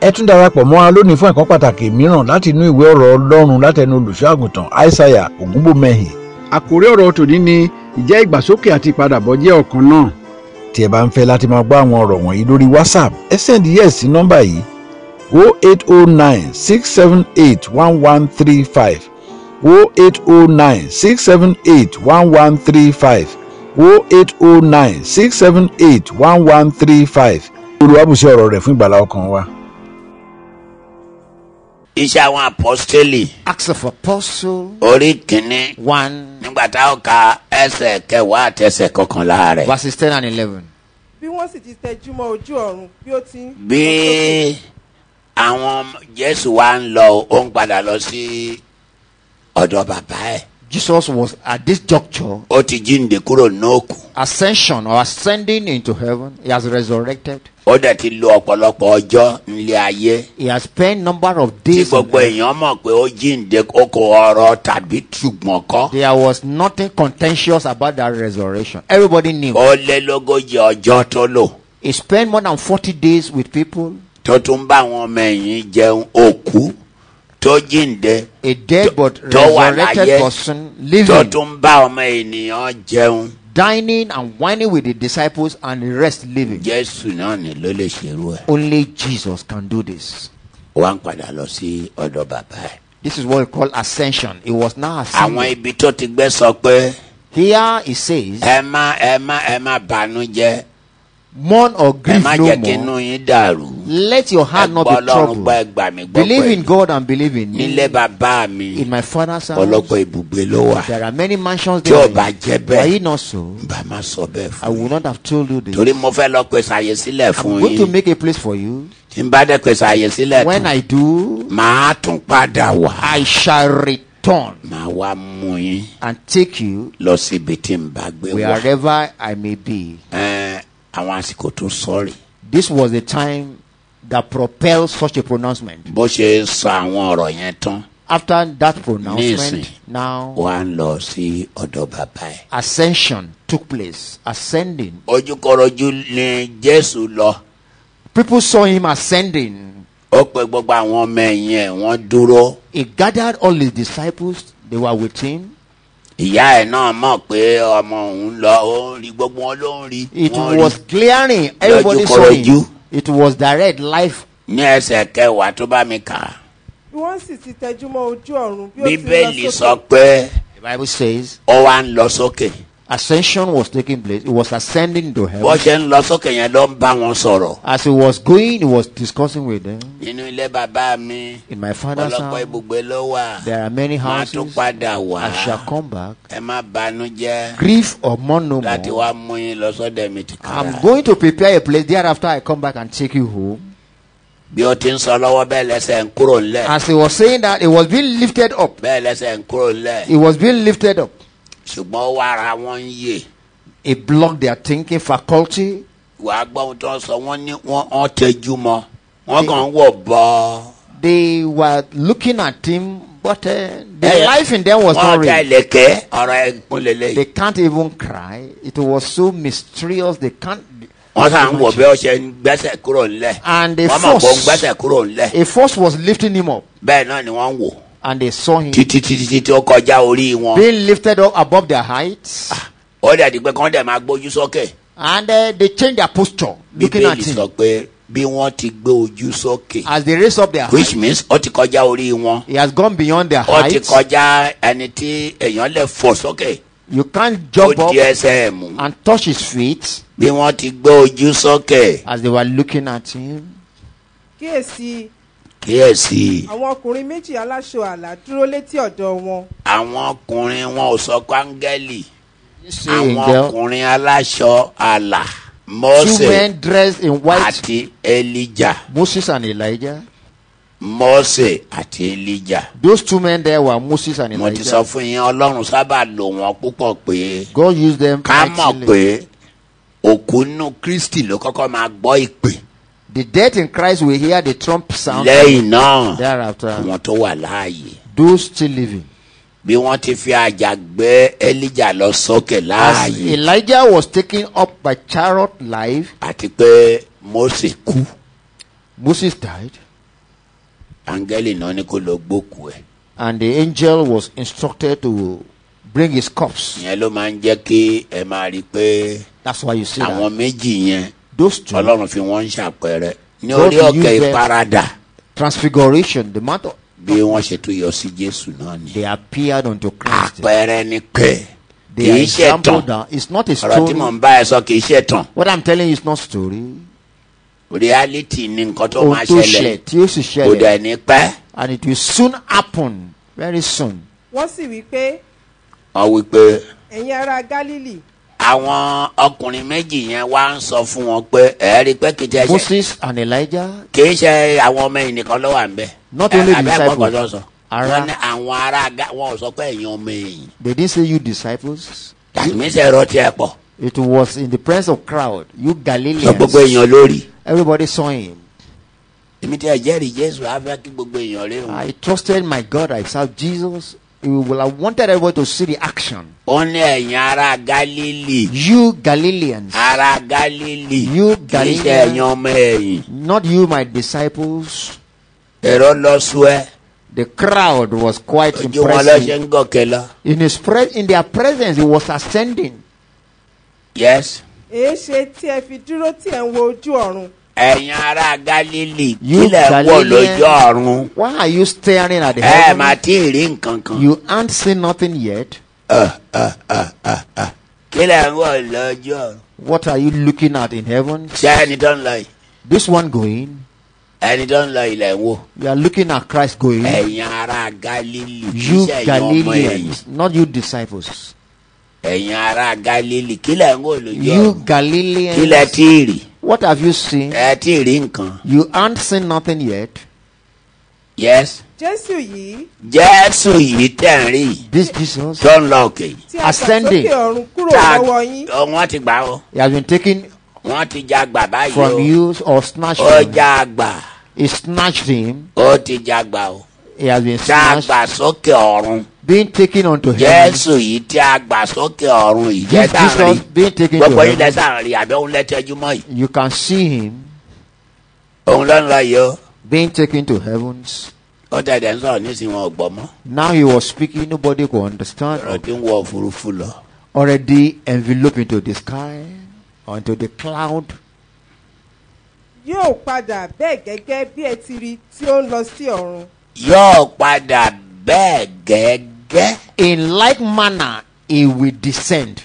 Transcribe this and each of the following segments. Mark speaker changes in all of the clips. Speaker 1: ẹ tún darapọ̀ mọ́ wa lónìí fún ẹ̀kọ́ pàtàkì mìíràn láti inú ìwé ọ̀rọ̀ ọlọ́run látẹnu olùṣọ́àgùntàn aishaiya ògúnbòmẹ́hìn
Speaker 2: àkórí ọ̀rọ̀ tòní ni ìjẹ́ ìgbàsókè àti ìpadàbọ̀ jẹ́ ọ̀kan náà
Speaker 1: tí ẹ bá ń fẹ́ láti máa gbọ́ àwọn ọ̀rọ̀ wọ̀nyí lórí whatsapp ẹ send yes sí nọ́mbà yìí 08096781135 08096781135 08096781135 olùwàbùsí ọ̀rọ̀ rẹ̀ fún ìgbàlá ọkàn wa.
Speaker 3: iṣẹ́ àwọn apọ́stélì
Speaker 4: Acts of Apostle
Speaker 3: orí kìíní
Speaker 4: 1,
Speaker 3: nígbà tá a ka ẹsẹ̀ kẹwàá àti ẹsẹ̀ kọkànlá rẹ̀.
Speaker 4: verses 10 and 11.
Speaker 5: bí wọ́n sì ti tẹjúmọ́ ojú ọ̀run bí ó ti ń.
Speaker 3: bí àwọn jésù wa ń lọ ó ń padà lọ sí ọ̀dọ̀ bàbá ẹ̀
Speaker 4: Jesus was at this juncture,
Speaker 3: ó ti jíǹde kúrò nóòkù
Speaker 4: ascension or ascending into heaven. He has resurrected.
Speaker 3: ó dẹ̀ ti lo ọ̀pọ̀lọpọ̀ ọjọ́ nílé ayé
Speaker 4: He has spent number of
Speaker 3: tí
Speaker 4: days. on
Speaker 3: gbogbo
Speaker 4: earth.
Speaker 3: èèyàn mọ̀ pé ó jíǹde ó kò ọ̀rọ̀ tàbí ṣùgbọ́n kọ́
Speaker 4: There was nothing contentious about that resurrection. Everybody knew.
Speaker 3: ó lé lógójì ọjọ́ tó lò
Speaker 4: He spent more than 40 days with people.
Speaker 3: tó tún ń bá àwọn ọmọ ẹ̀yìn jẹun òkú tó jíǹde
Speaker 4: A dead
Speaker 3: Tó-
Speaker 4: but
Speaker 3: tó wà láyé.
Speaker 4: resurrected person
Speaker 3: tó
Speaker 4: living,
Speaker 3: tún ń bá ọmọ ènìyàn jẹun
Speaker 4: dining and wining with the disciples and the rest living.
Speaker 3: jésù náà ni ló lè ṣerú ẹ̀
Speaker 4: Only Jesus can do this.
Speaker 3: ó wá ń padà lọ sí ọ̀dọ̀ bàbá ẹ̀.
Speaker 4: This is what we call ascension. It was now
Speaker 3: àwọn
Speaker 4: ascended.
Speaker 3: ibi tó ti gbé sọ pé
Speaker 4: Here it says,
Speaker 3: ẹ má ẹ má ẹ má bànú jẹ́
Speaker 4: mourn or
Speaker 3: ẹ
Speaker 4: grieve
Speaker 3: má
Speaker 4: no
Speaker 3: jẹ́ kí inú
Speaker 4: more.
Speaker 3: yín dàrú.
Speaker 4: Let your
Speaker 3: ẹ
Speaker 4: heart not
Speaker 3: gbọ́
Speaker 4: be
Speaker 3: ọlọ́run
Speaker 4: troubled.
Speaker 3: gbọ́ ẹ gbà mí gbọ́
Speaker 4: Believe in
Speaker 3: pẹ̀lú.
Speaker 4: God and believe in me.
Speaker 3: nílé bàbá mi
Speaker 4: In my father's
Speaker 3: ọlọ́pọ̀
Speaker 4: house,
Speaker 3: ibùgbé ló wà
Speaker 4: there are many mansions
Speaker 3: tí ò
Speaker 4: there.
Speaker 3: bá jẹ́
Speaker 4: Were
Speaker 3: bẹ́ẹ̀
Speaker 4: it not so,
Speaker 3: bá má sọ bẹ́ẹ̀
Speaker 4: I
Speaker 3: fún
Speaker 4: would
Speaker 3: yín.
Speaker 4: not have told you this.
Speaker 3: torí mo fẹ́ lọ pèsè àyè sílẹ̀ fún
Speaker 4: I'm going to
Speaker 3: yín
Speaker 4: make a place for you.
Speaker 3: tí n bá dẹ̀ pèsè àyè sílẹ̀
Speaker 4: When
Speaker 3: tán
Speaker 4: I do,
Speaker 3: màá tún padà wá
Speaker 4: I shall return
Speaker 3: màá wá mú yín
Speaker 4: and take you
Speaker 3: lọ síbi tí n bá gbé wá.
Speaker 4: wherever I may be.
Speaker 3: Ẹ́n, àwọn àsìkò tó sọ̀rì
Speaker 4: This was the time that propelled such a pronouncement.
Speaker 3: bó ṣe sọ àwọn ọ̀rọ̀ yẹn tán
Speaker 4: After that
Speaker 3: Nísìn.
Speaker 4: pronouncement, now
Speaker 3: wá ń lọ sí ọ̀dọ̀ bàbá ẹ̀.
Speaker 4: ascension took place, ascending.
Speaker 3: ojúkọrọjú ni jésù lọ
Speaker 4: People saw him ascending.
Speaker 3: ó pe gbogbo àwọn ọmọ ẹ̀yìn ẹ̀ wọ́n dúró
Speaker 4: He gathered all his disciples, they were with him.
Speaker 3: ìyá ẹ̀ náà mọ̀ pé ọmọ òun lọ ó ń rí gbogbo wọn ló ń rí
Speaker 4: It
Speaker 3: wọ́n rí.
Speaker 4: was clearing, everybody saw
Speaker 3: koroju.
Speaker 4: him. It was direct life.
Speaker 3: ní ẹsẹ̀ kẹwàá tó bá mi kà á,
Speaker 5: bí wọ́n sì ti tẹjúmọ́ ojú ọ̀run bí ó ti ń lọ
Speaker 3: bíbélì
Speaker 5: sókè.
Speaker 3: sọ pé
Speaker 4: The Bible says
Speaker 3: ó wá ń lọ sókè
Speaker 4: ascension was taking place, it was ascending
Speaker 3: bó
Speaker 4: to heaven.
Speaker 3: ṣe ń lọ sókè yẹn ló ń bá wọn sọ̀rọ̀
Speaker 4: As he was going, he was discussing with them.
Speaker 3: nínú ilé bàbá mi
Speaker 4: In my father's
Speaker 3: ọlọ́pọ̀
Speaker 4: house,
Speaker 3: ibùgbé ló wà
Speaker 4: there are many
Speaker 3: máa tún
Speaker 4: houses.
Speaker 3: padà wá
Speaker 4: I shall come back.
Speaker 3: ẹ má banú jẹ́
Speaker 4: Grief or mourn no
Speaker 3: láti
Speaker 4: more.
Speaker 3: wá mú yín lọ sọ́dọ̀ mi ti kára
Speaker 4: I'm going to prepare a place. Thereafter, I come back and take you home.
Speaker 3: bí ó ti ń sọ lọ́wọ́ bẹ́ẹ̀ lẹ́sẹ̀ ń kúrò ńlẹ̀
Speaker 4: As he was saying that, it was being lifted up.
Speaker 3: bẹ́ẹ̀ lẹ́sẹ̀ ń kúrò ńlẹ̀
Speaker 4: It was being lifted up.
Speaker 3: ṣùgbọ́n ó wá ara wọn ń yè
Speaker 4: It blocked their thinking faculty.
Speaker 3: wà á gbọ́ ohun tó ń sọ wọ́n ní wọ́n ọ́n tẹjú mọ́ wọ́n kàn ń wọ̀ bọ́
Speaker 4: They were looking at him, but uh, the
Speaker 3: Hey,
Speaker 4: life in them was
Speaker 3: wọ́n
Speaker 4: not
Speaker 3: ọ̀tá
Speaker 4: real.
Speaker 3: ìlẹ̀kẹ́ ọ̀rọ̀ ẹ̀gbọ́n lélẹ̀
Speaker 4: They can't even cry. It was so mysterious. They can't.
Speaker 3: wọ́n sàn ń wọ̀ bí ó ṣe ń gbẹ́sẹ̀ kúrò ńlẹ̀
Speaker 4: And the
Speaker 3: wọ́n mọ̀ kó ń
Speaker 4: force,
Speaker 3: gbẹ́sẹ̀ kúrò ńlẹ̀
Speaker 4: a force was lifting him up,
Speaker 3: bẹ́ẹ̀ náà ni wọ́n ń wò
Speaker 4: and they saw him
Speaker 3: títí títí títí ó kọjá orí wọn
Speaker 4: being lifted up above their heights,
Speaker 3: ó dẹ̀ di pé kán dẹ̀ máa gbójú sókè
Speaker 4: and uh, they changed their posture, looking at
Speaker 3: bíbélì sọ
Speaker 4: him
Speaker 3: pé bí wọ́n ti gbé ojú sókè
Speaker 4: as they raised up their
Speaker 3: which
Speaker 4: heights.
Speaker 3: means ó ti kọjá orí wọn
Speaker 4: He has gone beyond their
Speaker 3: ó ti
Speaker 4: heights.
Speaker 3: kọjá ẹni tí èèyàn lè fò sókè
Speaker 4: You can't
Speaker 3: ó
Speaker 4: jump
Speaker 3: di
Speaker 4: up
Speaker 3: ẹsẹ̀ ẹ̀ mú
Speaker 4: and touch his feet
Speaker 3: bí wọ́n ti gbé ojú sókè
Speaker 4: as they were looking at him.
Speaker 5: kíyèsí
Speaker 3: kíyèsí i.
Speaker 5: àwọn ọkùnrin méjì aláṣọ àlà dúró létí ọ̀dọ̀ wọn
Speaker 3: àwọn ọkùnrin wọn ò sọ kwangeli
Speaker 4: You see,
Speaker 3: àwọn
Speaker 4: angel,
Speaker 3: ọkùnrin aláṣọ àlà
Speaker 4: two
Speaker 3: mose
Speaker 4: men dressed in white,
Speaker 3: àti elija
Speaker 4: Moses and Elijah.
Speaker 3: mose àti elija
Speaker 4: Those two men there were Moses and
Speaker 3: mo ti sọ
Speaker 4: Elijah.
Speaker 3: fún yín ọlọ́run sábà lò wọ́n púpọ̀ pé
Speaker 4: God used them.
Speaker 3: ká mọ̀
Speaker 4: mightily.
Speaker 3: pé òkú nù kristi ló kọ́kọ́ máa gbọ́ ìpè
Speaker 4: The dead in Christ will hear the trump sound.
Speaker 3: lẹ́yìn náà
Speaker 4: Thereafter,
Speaker 3: àwọn tó wà láàyè
Speaker 4: those still living.
Speaker 3: bí wọ́n ti fi àjà gbé elija lọ sókè
Speaker 4: As
Speaker 3: láàyè
Speaker 4: Elijah was taken up by chariot life,
Speaker 3: àti pé mose kú
Speaker 4: Moses died.
Speaker 3: áńgẹ́lì náà ní kó lọ gbókù ẹ̀
Speaker 4: And the angel was instructed to bring his corpse.
Speaker 3: ìyẹn ló máa ń jẹ́ kí ẹ máa rí i pé
Speaker 4: That's why you see
Speaker 3: àwọn
Speaker 4: that.
Speaker 3: méjì yẹn
Speaker 4: Those two,
Speaker 3: ọlọ́run fi wọ́n ń ṣàpẹẹrẹ ní
Speaker 4: God
Speaker 3: orí òkè
Speaker 4: used them.
Speaker 3: ìparadà
Speaker 4: transfiguration, the matter,
Speaker 3: bí wọ́n ṣe tún yọ sí jésù náà ni
Speaker 4: they appeared unto Christ.
Speaker 3: àpẹẹrẹ ni pé kì
Speaker 4: They are
Speaker 3: í ṣe tán
Speaker 4: example that it's not a
Speaker 3: ọ̀rọ̀ tí mò
Speaker 4: story.
Speaker 3: ń bá ẹ sọ kì í ṣe tán
Speaker 4: What I'm telling you is not story.
Speaker 3: reality ni nǹkan tó máa
Speaker 4: Ohun tó
Speaker 3: ṣẹlẹ̀
Speaker 4: ṣẹlẹ̀ tí ó sì
Speaker 3: kò
Speaker 4: ṣẹlẹ̀.
Speaker 3: dẹ̀ ní pẹ́
Speaker 4: And it will soon happen. Very soon.
Speaker 5: wọ́n sì wí pé
Speaker 3: wọ́n wí pé
Speaker 5: ẹ̀yin ará gálílì
Speaker 3: àwọn ọkùnrin méjì yẹn wá ń sọ fún wọn pé ẹ rí i pé kì í ṣe ẹ̀ṣẹ̀
Speaker 4: Moses and Elijah,
Speaker 3: kì í ṣe àwọn ọmọ yìí nìkan ló wà ń bẹ.
Speaker 4: Not only
Speaker 3: Ẹ, àbí
Speaker 4: disciples.
Speaker 3: àgbọ̀ngàn tó sọ.
Speaker 4: Ara-
Speaker 3: wọ́n ní àwọn ará ga wọn ò sọ pé ẹ̀yin ọmọ yìí
Speaker 4: they didn't say you disciples.
Speaker 3: tàbíṣe ẹ̀rọ tiẹ̀ pọ̀
Speaker 4: It was in the presence of crowd. You
Speaker 3: sọ gbogbo
Speaker 4: Galileans.
Speaker 3: èèyàn lórí.
Speaker 4: Everybody saw him.
Speaker 3: èmi tí ẹ jẹ́rìí jésù á fẹ́ kí gbogbo èèyàn rí òun.
Speaker 4: I trusted my God. I saw Jesus. You will- I wanted everyone to see the action.
Speaker 3: ó ní ẹ̀yin ará galili
Speaker 4: You Galileans,
Speaker 3: ará galili
Speaker 4: You
Speaker 3: kì í ṣe
Speaker 4: Galileans.
Speaker 3: ẹ̀yin ọmọ ẹ̀yìn.
Speaker 4: not you, my disciples.
Speaker 3: ẹ̀rọ lọ sún ẹ
Speaker 4: The crowd was quite
Speaker 3: ojú wọn lọ ṣe
Speaker 4: impressive.
Speaker 3: ń gòkè lọ.
Speaker 4: In his pre- in their presence, he was ascending.
Speaker 3: yes
Speaker 5: èéṣe tí ẹ fi dúró tí ẹ ń wo ojú ọ̀run
Speaker 3: ẹ̀yin ará galili
Speaker 4: You
Speaker 3: kílẹ̀ wọ̀ lójú ọ̀run.
Speaker 4: Galileans, why are you staring at the
Speaker 3: ẹ máa
Speaker 4: heaven?
Speaker 3: tí ì rí nǹkan kan.
Speaker 4: You aren't seen nothing yet.
Speaker 3: kílẹ̀ wọ̀ lójú ọ̀run.
Speaker 4: What are you looking at in heaven?
Speaker 3: ṣé ẹni tó ń lọ yìí
Speaker 4: This one going.
Speaker 3: ẹni tó ń lọ ilẹ̀ ń wò.
Speaker 4: You are looking at Christ going.
Speaker 3: ẹ̀yin ará galili kì í
Speaker 4: You
Speaker 3: ṣe ẹ̀yin ọmọ ẹ̀yìn.
Speaker 4: Galileans, not you disciples.
Speaker 3: ẹ̀yin ará galili kílẹ̀ ń wò lójú
Speaker 4: You
Speaker 3: ọ̀run. kílẹ̀
Speaker 4: Galileans,
Speaker 3: tí ì rí.
Speaker 4: what have you seen?
Speaker 3: ẹ tí ì rí nǹkan.
Speaker 4: You aren't seen nothing yet.
Speaker 3: yes
Speaker 5: jésù yìí
Speaker 3: jésù yìí tẹ̀ ń rí yìí
Speaker 4: This Jesus,
Speaker 3: tó ń lọ òkè yìí.
Speaker 5: tí a gbà
Speaker 4: Ascending.
Speaker 5: sókè ọ̀run kúrò
Speaker 3: Tá-
Speaker 5: lọ́wọ́ yín
Speaker 3: ọ, wọ́n ti gbà ó
Speaker 4: he has been taken
Speaker 3: wọ́n ti já gbà
Speaker 4: from
Speaker 3: báyìí
Speaker 4: you or snatched
Speaker 3: o ó
Speaker 4: him.
Speaker 3: já gbà
Speaker 4: He snatched him.
Speaker 3: ó ti já gbà o
Speaker 4: He has been
Speaker 3: tá a
Speaker 4: snatched,
Speaker 3: gbà sókè ọ̀run
Speaker 4: being taken unto heaven.
Speaker 3: jésù yìí tí a gbà sókè ọ̀run yìí jẹ́
Speaker 4: This
Speaker 3: tá a rí
Speaker 4: Jesus being taken to
Speaker 3: gbogbo yìí
Speaker 4: heaven.
Speaker 3: lẹ́sà ń rí àbí òun lẹ́tẹ́jú mọ́ yìí
Speaker 4: You can see him
Speaker 3: òun ló ń lọ yìí o
Speaker 4: being taken to heavens.
Speaker 3: ó tẹ̀lé ń sọ̀rọ̀ nísìnyí wọn ò gbọ́ mọ́
Speaker 4: Now he was speaking, nobody could
Speaker 3: ọ̀rọ̀
Speaker 4: understand.
Speaker 3: tí ń wọ òfurufú lọ
Speaker 4: Already enveloped into the sky, onto the cloud.
Speaker 5: yóò padà bẹ́ẹ̀ gẹ́gẹ́ bí ẹ ti rí tí ó ń lọ sí ọ̀run
Speaker 3: yóò padà bẹ́ẹ̀ gẹ́gẹ́
Speaker 4: In like manner, he will descend.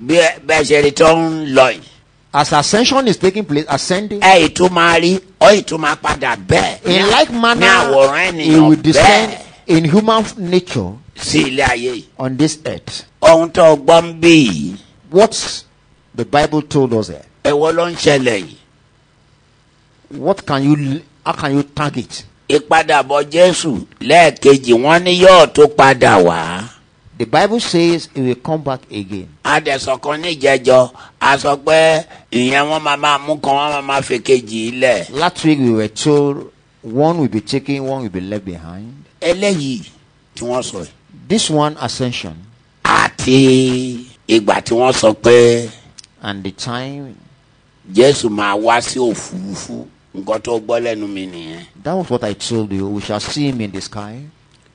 Speaker 3: bí ẹ- bẹ́ẹ̀ ṣe rí tó ń lọ yìí
Speaker 4: As ascension is taking place, ascending,
Speaker 3: ẹ ìtumọ̀ rí ó ìtumọ̀ padà bẹ́ẹ̀
Speaker 4: in like
Speaker 3: ní àwòrán
Speaker 4: manner, he
Speaker 3: ènìyàn
Speaker 4: will
Speaker 3: bẹ́ẹ̀
Speaker 4: descend in human nature
Speaker 3: sí ilé ayé yìí
Speaker 4: on this earth.
Speaker 3: ohun tó gbọ́ ń bí yìí
Speaker 4: What the Bible told us here.
Speaker 3: ẹ̀wọ́ ló ń ṣẹlẹ̀ yìí
Speaker 4: What can you, how can you target?
Speaker 3: ìpadàbọ̀ jésù lẹ́ẹ̀kejì wọ́n ní yóò tó padà wá
Speaker 4: The Bible says he will come back again.
Speaker 3: adẹ̀sọ̀ kan níjẹjọ a sọ pé ìyẹn wọ́n máa máa mú kan wọ́n máa máa fi kejì ilẹ̀
Speaker 4: Last week we were told one will be taken, one will be left behind.
Speaker 3: eléyìí tí wọ́n sọ yìí
Speaker 4: This one ascension
Speaker 3: àti ìgbà tí wọ́n sọ pé
Speaker 4: and the time
Speaker 3: jésù máa wá sí òfurufú nǹkan tó gbọ́ lẹ́nu mi nìyẹn
Speaker 4: that was what I told you. We shall see him in the sky.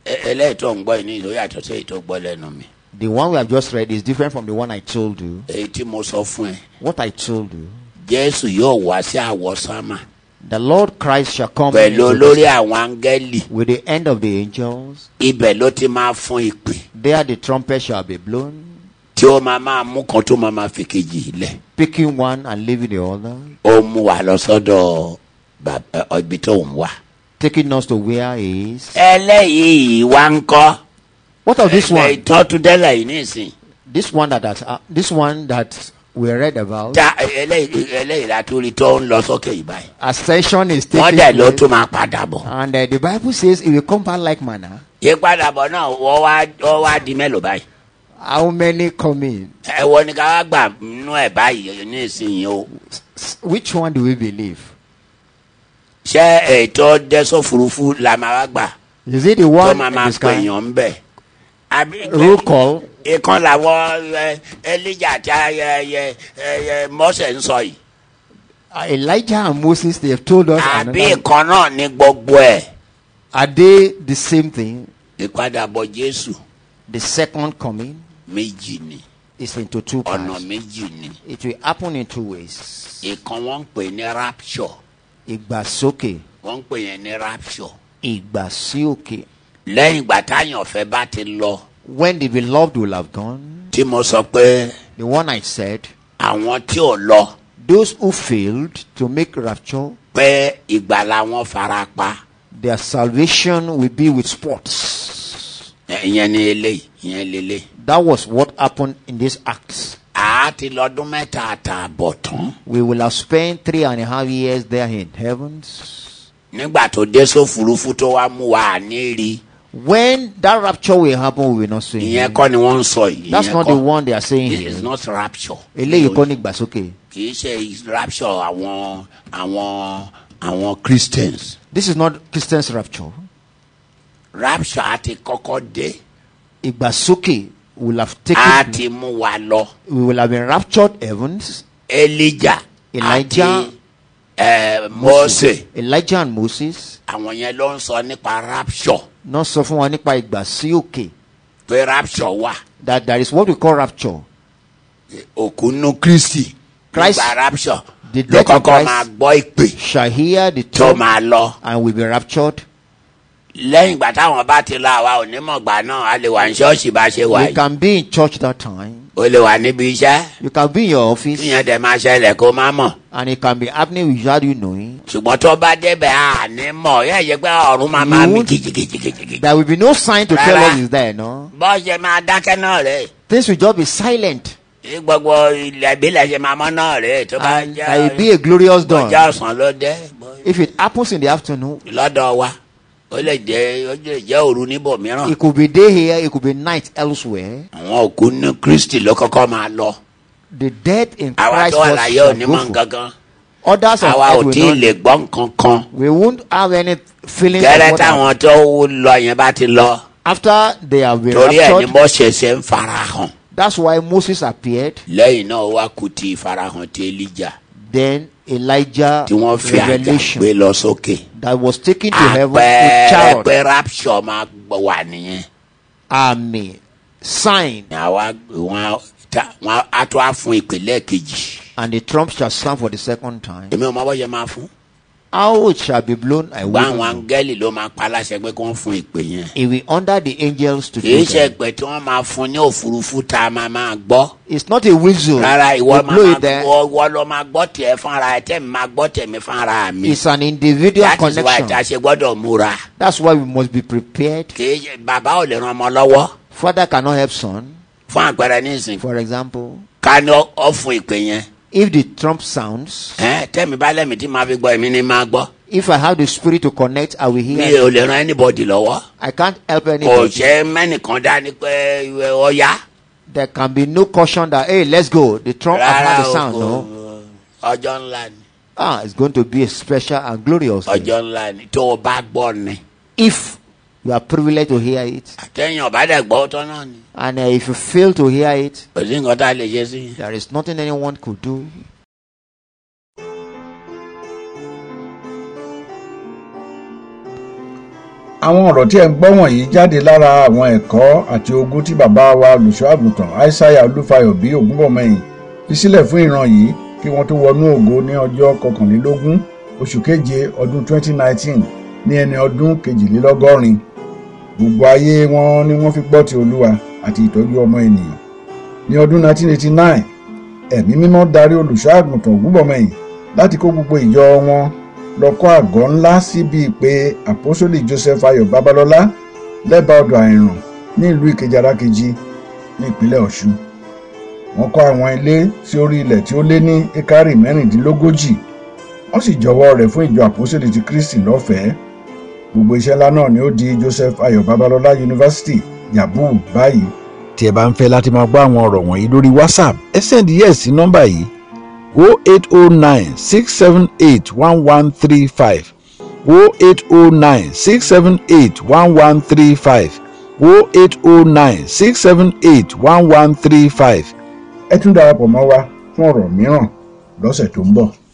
Speaker 3: E- eléyìí tó ń gbọ́ yìí ní ìlú yàtọ̀ sí èyí tó gbọ́ lẹ́nu mi
Speaker 4: The one we have just read is different from the one I told you.
Speaker 3: èyí tí mo sọ fún ẹ
Speaker 4: What I told you.
Speaker 3: jésù yóò wá sí àwọsánmà
Speaker 4: The Lord Christ shall come
Speaker 3: pẹ̀lú
Speaker 4: into the-
Speaker 3: olórí àwọn áńgẹ́lì
Speaker 4: with the end of the angels.
Speaker 3: ibẹ̀ ló ti máa fún ìpè
Speaker 4: There the trumpet shall be blown,
Speaker 3: tí ó máa máa mú kan tó máa máa fi kejì lẹ̀
Speaker 4: picking one and leaving the other,
Speaker 3: ó mú wa lọ sọ́dọ̀ bàb- ẹ, ibi tó ń wá.
Speaker 4: taking us to where he is.
Speaker 3: ẹlẹ́yìí wá ń kọ́
Speaker 4: What of this
Speaker 3: ẹ̀
Speaker 4: one?
Speaker 3: tọ́túndẹ́lẹ̀ yìí nísìn
Speaker 4: This one that, that uh, this one that we read about.
Speaker 3: tá ẹlẹ́yìí ẹlẹ́yìí la tún rí tó ń lọ sókè yìí báyìí
Speaker 4: Ascension is
Speaker 3: wọ́n
Speaker 4: taking
Speaker 3: dẹ̀ ló
Speaker 4: place.
Speaker 3: tún máa padà bọ̀
Speaker 4: And uh, the Bible says it will come back like manna.
Speaker 3: ìpadàbọ̀ náà wọ́n wá wọ́n wá di mélòó báyìí
Speaker 4: How many come in?
Speaker 3: ẹ wọ́n ní ká wá gbà nínú ẹ̀ báyìí nísìnyí o
Speaker 4: S- Which one do we believe?
Speaker 3: ṣé ètò dẹ́sọ̀furufú la máa wá gbà
Speaker 4: Is it the
Speaker 3: tó
Speaker 4: one
Speaker 3: máa
Speaker 4: in
Speaker 3: máa
Speaker 4: the
Speaker 3: pè
Speaker 4: sky?
Speaker 3: yàn ń bẹ̀ àbí
Speaker 4: Roll call.
Speaker 3: ìkan làwọn ẹ, elija àti ayẹyẹ ẹyẹ mọ́sẹ̀ ń sọ yìí
Speaker 4: Uh, Elijah and Moses, they have told us.
Speaker 3: àbí
Speaker 4: another-
Speaker 3: ìkan náà ní gbogbo ẹ̀
Speaker 4: Are they the same thing?
Speaker 3: ìpadàbọ̀ jésù
Speaker 4: The second coming
Speaker 3: méjì ni
Speaker 4: is into two
Speaker 3: ọ̀nà
Speaker 4: parts.
Speaker 3: méjì ni
Speaker 4: It will happen in two ways.
Speaker 3: ìkan wọ́n ń pè ní rapture
Speaker 4: Igbasoke,
Speaker 3: wọ́n ń pè yẹn ní rapture
Speaker 4: igbasioke.
Speaker 3: lẹ́yìn ìgbà táyàn ọ̀fẹ́ bá ti lọ
Speaker 4: When the beloved will have gone,
Speaker 3: tí mo sọ pé
Speaker 4: the one I said,
Speaker 3: àwọn tí ò lọ
Speaker 4: those who failed to make rapture,
Speaker 3: pé ìgbàlà wọn fara pa
Speaker 4: their salvation will be with spots.
Speaker 3: Ẹ- ìyẹn ni eléyìí ìyẹn lélẹ̀
Speaker 4: That was what happened in this act.
Speaker 3: àá ti lọ́dún mẹ́ta àtààbọ̀ tán
Speaker 4: We will have spent three and a half years there in heavens.
Speaker 3: nígbà tó dé sófurufú tó wá mú wa àní rí
Speaker 4: When that rapture will happen, we will not see.
Speaker 3: ìyẹn
Speaker 4: him.
Speaker 3: kọ́ ni wọ́n ń sọ yìí
Speaker 4: That's
Speaker 3: ìyẹn
Speaker 4: not
Speaker 3: kọ́.
Speaker 4: the one they are saying
Speaker 3: This is
Speaker 4: here.
Speaker 3: not rapture
Speaker 4: eléyìí kọ́ ní ìgbàsókè.
Speaker 3: kì í ṣe rapture àwọn àwọn àwọn christians
Speaker 4: this is not christian's rapture.
Speaker 3: rapture á ti kọ́kọ́ dé
Speaker 4: ìgbàsókè will have
Speaker 3: á
Speaker 4: taken.
Speaker 3: ti mú wa lọ
Speaker 4: we will have been raptured heavens.
Speaker 3: elijah àti
Speaker 4: Elijah.
Speaker 3: ẹ, mose
Speaker 4: elijah and moses.
Speaker 3: àwọn yẹn ló ń sọ nípa rapture
Speaker 4: náà sọ fún wa nípa ìgbàsókè.
Speaker 3: pé rapture wà
Speaker 4: that that is what we call rapture.
Speaker 3: òkú nù kristi
Speaker 4: Christ-
Speaker 3: nígbà rapture
Speaker 4: the
Speaker 3: ló
Speaker 4: death of
Speaker 3: kọ́kọ́
Speaker 4: Christ.
Speaker 3: máa gbọ́ ìpè
Speaker 4: shall hear the
Speaker 3: tó
Speaker 4: term
Speaker 3: máa lọ
Speaker 4: and will be raptured.
Speaker 3: lẹ́yìn ìgbà táwọn bá ti lọ àwa onímọ̀gbà náà a lè wà ní ṣọ́ọ̀ṣì bá ṣe wà
Speaker 4: you
Speaker 3: yìí
Speaker 4: can be in church that time.
Speaker 3: o lè wà níbi iṣẹ́
Speaker 4: you can be in your office.
Speaker 3: tíyẹn dẹ̀ máa ṣẹlẹ̀ kó má mọ̀.
Speaker 4: and it can be happening without you knowing.
Speaker 3: ṣùgbọ́n tó bá débẹ̀ à ní mọ̀ yẹ́ yẹ pé ọ̀run máa máa mi
Speaker 4: You-
Speaker 3: kìjìkìjìkìjì.
Speaker 4: there will be no sign to tell
Speaker 3: Rárá.
Speaker 4: us it's there no.
Speaker 3: bọ́ ṣe máa dákẹ́ náà rè
Speaker 4: things will just be silent.
Speaker 3: é gbogbo ilẹ̀ ìbílẹ̀ ṣe máa mọ́ náà rè é tó bá
Speaker 4: and there will be
Speaker 3: jẹ́
Speaker 4: a glorious dawn.
Speaker 3: ọjọ́ ọ̀sán ló dé
Speaker 4: if it happens in the afternoon
Speaker 3: lọ́dọ̀ wa ó lè jẹ́ ó lè jẹ́ òru níbòmíràn.
Speaker 4: it could be day here it could be night elsewhere
Speaker 3: àwọn òkú ní kristi ló kọ́kọ́ máa lọ
Speaker 4: the death in
Speaker 3: àwa
Speaker 4: christ
Speaker 3: tó
Speaker 4: was
Speaker 3: àlàyé
Speaker 4: shall
Speaker 3: onímọ̀
Speaker 4: go forth.
Speaker 3: gangan
Speaker 4: others of
Speaker 3: àwa ò
Speaker 4: us
Speaker 3: tí
Speaker 4: will
Speaker 3: ì lè
Speaker 4: not
Speaker 3: gbọ́ nǹkan kan
Speaker 4: we won't have any feelings of
Speaker 3: gẹ́rẹ́
Speaker 4: what
Speaker 3: táwọn tó lọ yẹn bá ti lọ
Speaker 4: happened. after they have been
Speaker 3: torí ẹ̀ ni
Speaker 4: raptured
Speaker 3: mo ṣẹ̀ṣẹ̀ ń farahàn
Speaker 4: that's why moses appeared
Speaker 3: lẹ́yìn náà ó wá kú ti ìfarahàn ti elijah.
Speaker 4: then elijah
Speaker 3: tí wọ́n fi àjà
Speaker 4: revelation
Speaker 3: gbé lọ sókè.
Speaker 4: that was taken to heaven with
Speaker 3: àpẹẹrẹ
Speaker 4: chariot
Speaker 3: pé rapture máa gbọ́ wà nìyẹn.
Speaker 4: army sign
Speaker 3: àwa wọn ta- wọn á tó á fún ìpínlẹ̀ kejì.
Speaker 4: and the trump shall sound for the second time
Speaker 3: èmi ò mọ bọ́yẹ máa fún.
Speaker 4: how it shall be blown i will
Speaker 3: gba àwọn
Speaker 4: not know.
Speaker 3: angẹ́lì ló máa pa aláṣẹ pé kí wọ́n fún ìpè yẹn.
Speaker 4: it will under the angels to
Speaker 3: kìí
Speaker 4: do
Speaker 3: ṣe
Speaker 4: them.
Speaker 3: ìpè tí wọ́n máa fún ní òfurufú tá a máa máa gbọ́.
Speaker 4: It's not a whistle.
Speaker 3: rárá ìwọ
Speaker 4: You
Speaker 3: máa
Speaker 4: blow
Speaker 3: máa
Speaker 4: it there.
Speaker 3: gbọ́ ìwọ ló máa gbọ́ tiẹ̀ fúnra ẹ̀ tẹ̀mí máa gbọ́ tẹ̀mí fúnra mi.
Speaker 4: It's an individual
Speaker 3: that is why
Speaker 4: connection.
Speaker 3: ta ṣe gbọ́dọ̀ múra.
Speaker 4: That's why we must be prepared.
Speaker 3: kìí ṣe bàbá ò lè ran ọmọ lọ́wọ́.
Speaker 4: Father cannot help son.
Speaker 3: fún àpẹẹrẹ nísìnyí
Speaker 4: For example,
Speaker 3: ká ní ọ fún ìpè yẹn.
Speaker 4: if the trump sounds,
Speaker 3: ẹ tẹmí bá lẹmí tí màá fi gbọ èmi ni màá gbọ
Speaker 4: if I have the spirit to connect, I will
Speaker 3: mi
Speaker 4: hear.
Speaker 3: ò lè ran anybody lọwọ
Speaker 4: I can't help
Speaker 3: kò
Speaker 4: anybody.
Speaker 3: ṣe mẹnìkan dání pé ìwé ọyá
Speaker 4: There can be no caution that hey, let's go. The trump has
Speaker 3: rárá
Speaker 4: had the sound.
Speaker 3: o
Speaker 4: No,
Speaker 3: ọjọ ńlá ni
Speaker 4: ah, it's going to be a special and glorious. day.
Speaker 3: ọjọ ńlá ni tó o bá gbọ ni
Speaker 4: If you are privileged to hear it,
Speaker 3: àtẹyìn ọba dẹ gbọ tán náà ni
Speaker 4: and uh, if you fail to hear it,
Speaker 3: kò sí nǹkan tá a lè ṣe sí i.
Speaker 4: there is nothing anyone could do.
Speaker 1: àwọn ọ̀rọ̀ tí ẹ̀ ń gbọ́ wọ̀nyí jáde lára àwọn ẹ̀kọ́ àti ogún tí bàbá wa olùṣọ́àgùntàn aishaiya olúfayọ bí ògúnbọ̀mọyìn fi sílẹ̀ fún ìran yìí kí wọ́n tó wọnú ògo ní ọjọ́ kọkànlélógún oṣù keje ọdún 2019 ní ẹni ọdún kejìlélọ́gọ́rin gbogbo ayé wọn ni wọ́n fi gbọ́ ti olúwa àti ìtọ́jú ọmọ ènìyàn ní ọdún 1989 ẹ̀mí mímọ́ darí olùṣọ́àgùntàn ògúnbọ̀mọyìn láti kó gbogbo ìjọ wọn lọ́kọ́ àgọ́ ńlá síbi ìpè àpọ́sólì joseph ayọ̀ babalọ́lá lẹ́bàá ọ̀dọ̀ àìrùn ní ìlú ìkejì-arakejì ní ìpínlẹ̀ ọ̀ṣun. wọ́n kọ́ àwọn ilé sí orí ilẹ̀ tí ó lé ní ekari mẹ́rìndínlógójì wọ́n sì jọwọ́ rẹ̀ fún ìjọ àpọ́sólì ti kristi lọ́fẹ̀ẹ́. gbogbo iṣẹ́ ńlá náà ni ó di joseph ayọ̀ babalọ́lá yunifásitì yabu báyìí. tí ẹ bá ń fẹ́ láti máa gbọ́ àwọn ọ̀rọ̀ wọ̀nyí lórí whatsapp ẹ sẹ́ndí yẹ̀ sí nọ́mbà yìí 08096781135 08096781135 08096781135 ẹ tún darapọ̀ mọ́ wa fún ọ̀rọ̀ mìíràn lọ́sẹ̀ tó ń bọ̀.